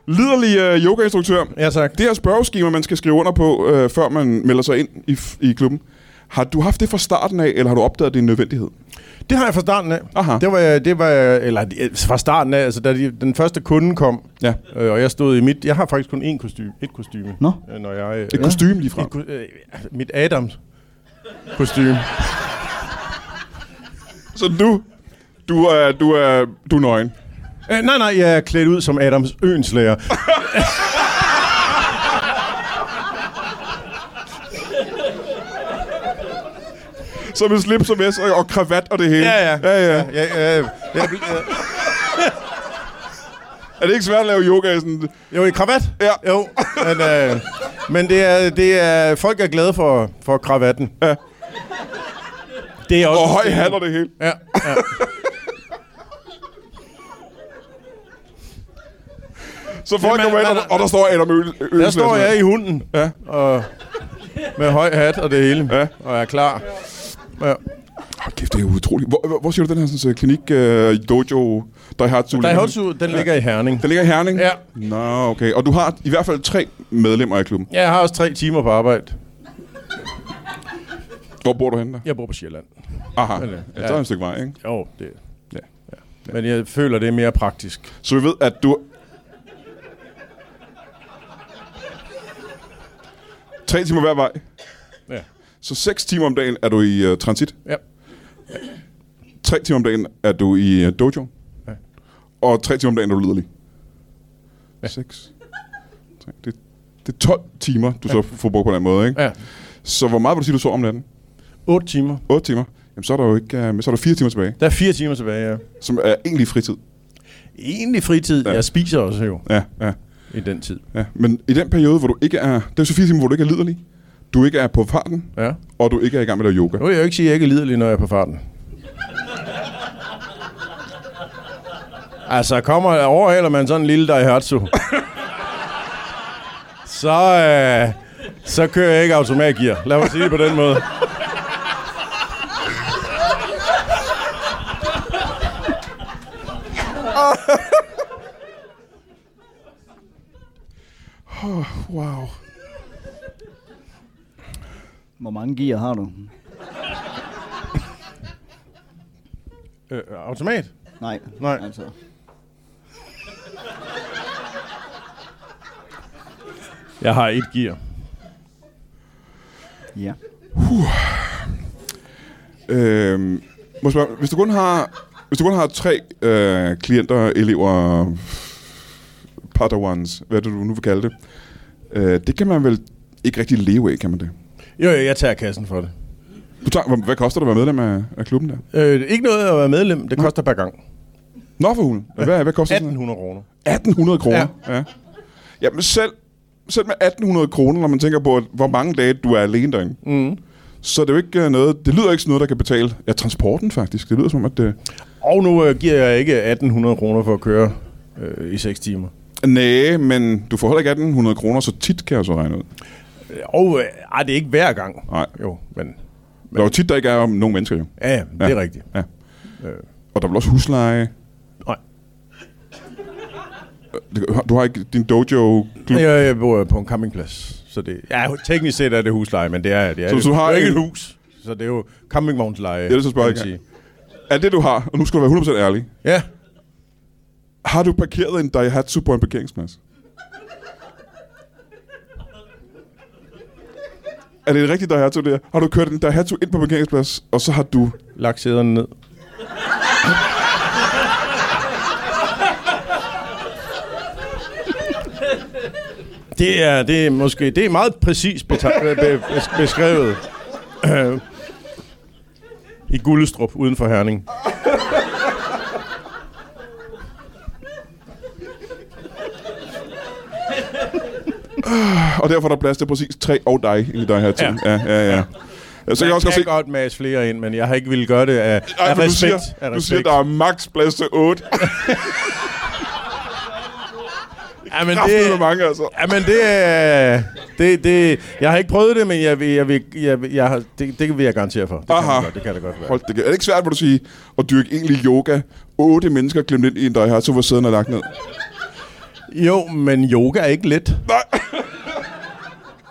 vitterlig øh, yogainstruktør. Ja, tak. Det her spørgeskema, man skal skrive under på, øh, før man melder sig ind i, f- i klubben. Har du haft det fra starten af, eller har du opdaget, at det er en nødvendighed? Det har jeg fra starten af. Aha. Det var, jeg- det var jeg- eller eh, fra starten af, altså da de, den første kunde kom, Ja. øh, og jeg stod i mit, jeg har faktisk kun én kostume, et kostume. Nå. Øh, når jeg, øh, Et kostume lige fra. et ko- øh, mit Adams kostume. Så du, du er, du er, du er nøgen. Øh, nej, nej, jeg er klædt ud som Adams ønslæger. Så med slips og mæs og, og kravat og det hele. Ja, ja. ja, ja. jeg, øh, jeg, øh, Er det ikke svært at lave yoga i sådan... jo, i kravat. Ja. Jo, men, øh, men det er, det er, folk er glade for, for kravatten. Ja. Det er også... Og høj hat og det hele. Ja, ja. Så folk Jamen, kommer ind, og, hvad der- og der står Adam Øl. Der står jeg i hunden. Ja. Og med høj hat og det hele. Ja. Og er klar. Ja. Hold kæft, det er utroligt. Hvor, hvor, hvor siger du den her sådan, så klinik, øh, dojo, der har Der er Hotsu, den ligger i Herning. Den ligger i Herning? Ja. Nå, okay. Og du har i hvert fald tre medlemmer i klubben. Ja, Jeg har også tre timer på arbejde. Hvor bor du henne der? Jeg bor på Sjælland. Aha. Ja. Ja, der er en stykke vej, ikke? Jo, det... Ja. Ja. Men jeg føler, det er mere praktisk. Så vi ved, at du... Tre timer hver vej. Ja. Så seks timer om dagen er du i uh, transit. ja. Tre timer om dagen er du i uh, dojo. Ja. Og tre timer om dagen er du liderlig. Ja. Seks. Tre. Det, det er 12 timer, du ja. så får brugt på den måde, ikke? ja. Så hvor meget vil du sige, du sover om natten? Otte timer. 8 timer. Jamen, så er der jo ikke, uh, så er der fire timer tilbage, Der er fire timer tilbage, ja. som er egentlig fritid. Egentlig fritid. Ja. Ja. Jeg spiser også jo Ja, ja, i den tid. ja. Men i den periode, hvor du ikke er... Det er så fire timer, hvor du ikke er liderlig. Du ikke er på farten, Ja. og du ikke er i gang med at lave yoga. Nu vil jeg jo ikke sige, at jeg ikke er liderlig, når jeg er på farten. Altså, kommer overhaler man sådan en lille Daihatsu, så, øh, så kører jeg ikke automatgear. Lad mig sige det på den måde. Wow. Hvor mange gear har du? Øh, automat? Nej. Nej. Altså. Jeg har et gear. Ja. Øhm, må jeg spørge, hvis du kun har, hvis du kun har tre øh, klienter, elever, padawans, hvad er det, du nu vil kalde det, øh, det kan man vel ikke rigtig leve af, kan man det? Jo, jo, jeg tager kassen for det. Du tager, hvad, hvad koster det at være medlem af, af klubben der? Øh, ikke noget at være medlem. Det koster per gang. Nå for hulen. Hvad, hvad koster sådan noget? 1800 kroner. 1800 kroner. Ja. ja. Jamen selv, selv med 1800 kroner, når man tænker på, at hvor mange dage du er alene derinde, Mm. så er det jo ikke øh, noget, det lyder ikke som noget, der kan betale. Ja, transporten faktisk. Det lyder som om, at... Øh, Og nu øh, giver jeg ikke 1800 kroner for at køre øh, i 6 timer. Næh, men du får heller ikke 1800 kroner, så tit kan jeg så regne ud. Og øh, ej, det er ikke hver gang. Nej. Jo, men Der er jo tit, der ikke er om nogen mennesker jo. ja, ja, det Ja. er rigtigt. Ja. Øh, Og der er vel også husleje. nej. Det- Du har ikke din dojo klub. Ja. Jeg, jeg bor på en campingplads, så det... Ja, teknisk set er det husleje, men det er det. Er, Så hvis du har det er jo en- ikke et hus, så det er jo campingvognsleje. det er så spørger kan jeg man sige. Er det, du har, og nu skal du være 100% ærlig, Ja, har du parkeret en Daihatsu på en parkeringsplads? Er det en rigtig Daihatsu, der? Har du kørt en Daihatsu ind på parkeringsplads, og så har du... lagt sæderne ned. Det er, det er måske det er meget præcis beta- be- be- bes- beskrevet øh, i Gullestrup uden for Herning. Og derfor er der plads til præcis tre og dig ind i Daihatsu. Ja, Ja. ja, ja. ja. ja. Så kan jeg også Jeg godt kan se... godt masse flere ind, men jeg har ikke ville gøre det af, Ej, af men respekt. du siger, af du siger, respekt. der er maks plads til 8. ja, men Kraftigt med det, mange, altså. ja, men det er... Det, det, jeg har ikke prøvet det, men jeg vil, jeg vil, jeg vil, jeg har, det, det vil jeg garantere for. Det kan, Aha. det godt, det kan det godt være. Hold det, er det ikke svært, må du sige, at dyrke egentlig yoga? Otte mennesker klemt ind i en, der har så var sæden er lagt ned. Jo, men yoga er ikke let.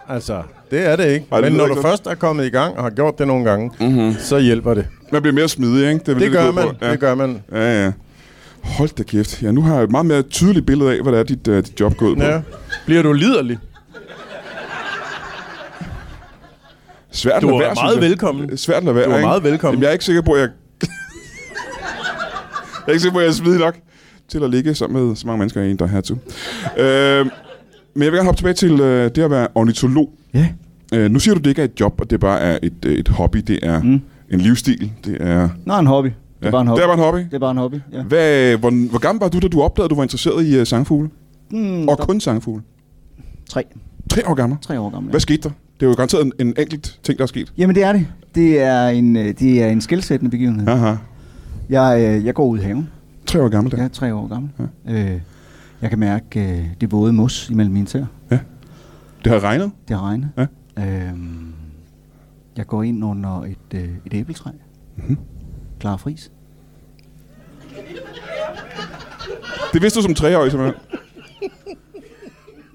Altså, det er det ikke. Ej, det men lyder når ikke du så- først er kommet i gang og har gjort det nogle gange, mm-hmm. så hjælper det. Man bliver mere smidig, ikke? er vel Det gør går man. på. Ja. Det gør man. Ja, ja. Hold da kæft. Ja, nu har jeg et meget mere tydeligt billede af, hvad det er, dit, uh, dit job går ud på. Ja. Ja. Bliver du liderlig? Svært at Du lade er være, synes meget jeg. velkommen. Svært at lade være, Du er ikke? meget velkommen. Jamen, jeg er ikke sikker på, at jeg... jeg er ikke sikker på, at jeg er smidig nok til at ligge sammen med så mange mennesker i en, der er her til. Øh, men jeg vil gerne hoppe tilbage til øh, det at være ornitolog. Ja. Øh, nu siger du, det ikke er et job, og det bare er et, øh, et hobby. Det er mm. en livsstil. Det er, Nå, en hobby. Det er bare en hobby. Det er bare en hobby. Det er bare en hobby, ja. Hvad, øh, hvor, hvor gammel var du, da du opdagede, at du var interesseret i uh, sangfugle? Mm, Og der- kun sangfugle? Tre. Tre år gammel? Tre år gammel. ja. Hvad skete der? Det er jo garanteret en, en enkelt ting, der er sket. Jamen, det er det. Det er en, øh, det er en skældsættende begivenhed. Ja. Aha. Jeg, øh, jeg går ud i haven. Tre år gammel, der. Jeg er tre år gammel. Ja. Øh, jeg kan mærke øh, det våde mos imellem mine tæer. Det har regnet. Det har regnet. Ja. Øhm, jeg går ind under et, øh, et æbletræ. Mm-hmm. Mhm. Klar fris. Det vidste du som treårig, simpelthen.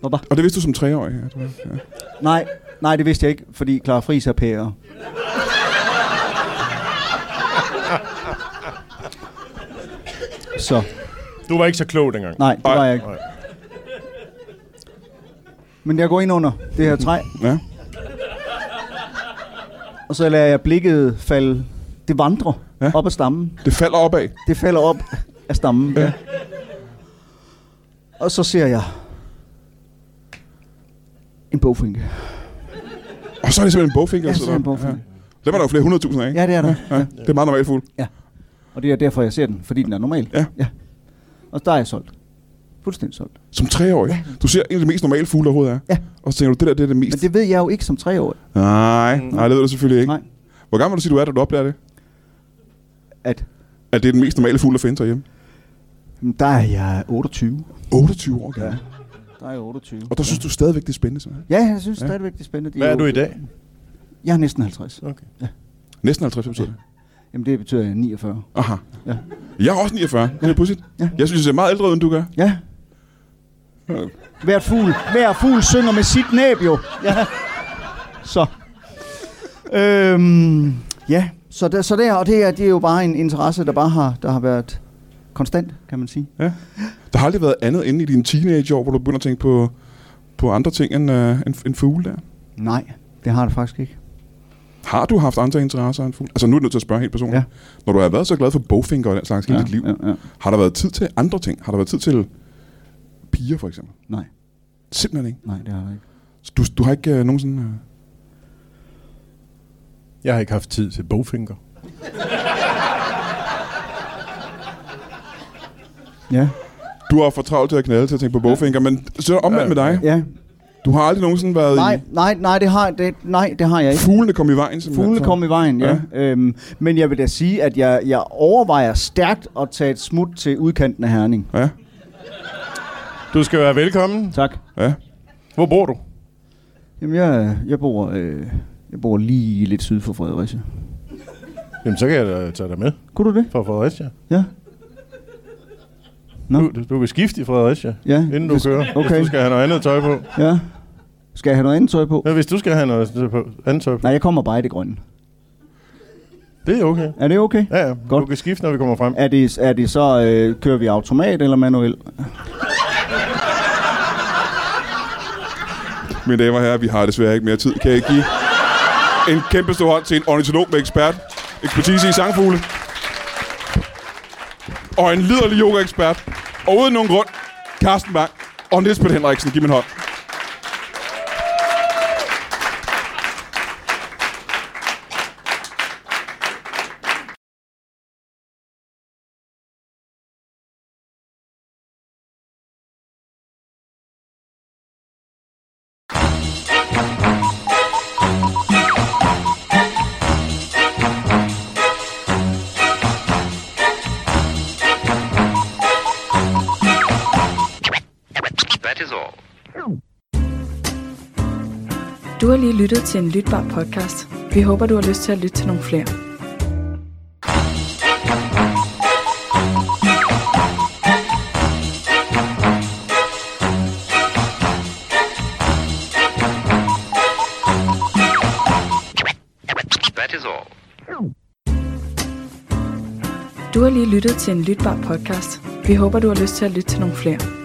Hvorfor? Og det vidste du som treårig. Ja, det var- ja. Nej, nej, det vidste jeg ikke, fordi Clara Friis er pære. Så, Du var ikke så klog dengang. nej, det Ej. var jeg ikke. Men jeg går ind under det her træ, ja. og så lader jeg blikket falde. Det vandrer Ja. ja. op ad stammen. Det falder opad. Det falder op af stammen. Ja. Ja. Og så ser jeg en bogfinke. Og så er det simpelthen en bogfinger. Ja, der så er det sidder en op. bogfinke. Ja. Dem er der jo flere hundredtusinder af, ikke? Ja, det er der. Ja. Det er meget normalt fugl. Ja. Og det er derfor, jeg ser den, fordi den er normal. Ja. ja. Og der er jeg solgt. Fuldstændig solgt. Som treårig. Du ser en af de mest normale fugle, der overhovedet er. Ja. Og så tænker du, det der det er det Men mest... det ved jeg jo ikke som treårig. Nej, nej, det ved du selvfølgelig ikke. Nej. Hvor gammel vil du sige, du er, da du opdager det? At At det er den mest normale fugl, der findes herhjemme. jamen, der er jeg 28. 28 år gammel. Ja. Der er jeg 28. Og der synes du stadigvæk, det er spændende, så? Ja, jeg synes ja. stadigvæk, det er spændende. De Hvad er du i otte. dag? Jeg er næsten 50. Okay. Næsten 50, hvad betyder det? Jamen, det betyder jeg er 49. Aha. Ja. Jeg er også 49. Det er pudsigt. Ja. Jeg synes, jeg ser meget ældre ud, end du gør. Ja. Hvert fugl, hver fugl synger med sit næb jo. Ja. Så. Øhm, ja, så der, så der og det er, det er jo bare en interesse, der bare har, der har været konstant, kan man sige. Ja. Der har aldrig været andet inde i dine teenageår, hvor du begynder at tænke på, på andre ting end, øh, end, end fugle der. Nej, det har det faktisk ikke. Har du haft andre interesser end fugle? Altså nu er jeg nødt til at spørge helt personligt. Ja. Når du har været så glad for bogfinger og den slags hele Ja, dit liv, ja, ja. har der været tid til andre ting? Har der været tid til piger for eksempel? Nej, Simpelthen ikke. nej, det har det ikke. Så Du, du har ikke øh, nogen sådan... Øh... Jeg har ikke haft tid til bogfinger. Ja, Du har for travlt til at knalde til at tænke på bogfinger, men så er det omvendt med dig. ja. Du har aldrig nogensinde været Nej, i... nej, nej, det har, det, nej, det har jeg ikke. Fuglene kom i vejen simpelthen. Fuglene kom i vejen, ja. ja. Øhm, men jeg vil da sige, at jeg, jeg overvejer stærkt at tage et smut til udkanten af Herning. Ja, Du skal være velkommen. Tak. ja. Hvor bor du? Jamen, jeg, jeg, bor, øh, jeg bor lige lidt syd for Fredericia. Jamen, så kan jeg da tage dig med Kunne du det? fra Fredericia. Ja. Nå. Du, du kan skifte i Fredericia, Ja, inden du hvis- kører, okay. hvis okay. du skal have noget andet tøj på. Ja. Skal jeg have noget andet tøj på? Ja, hvis du skal have noget tøj på- andet tøj på, Nej, jeg kommer bare i det grønne. det er okay. Er det okay? Ja, ja. Godt. Du kan skifte, når vi kommer frem. Er det, er det så, øh, kører vi automat eller manuel? Mine damer og herrer, vi har desværre ikke mere tid. Kan jeg give en kæmpe stor hånd til en ornitolog med ekspert, ekspertise i sangfugle, og en liderlig yoga-ekspert, og uden nogen grund, Carsten Bang og Niels Peter Henriksen. Giv mig en hånd. That is all. Du har lige lyttet til en lytbar podcast. Vi håber, du har lyst til at lytte til nogle flere. That is all. Du har lige lyttet til en lytbar podcast. Vi håber, du har lyst til at lytte til nogle flere.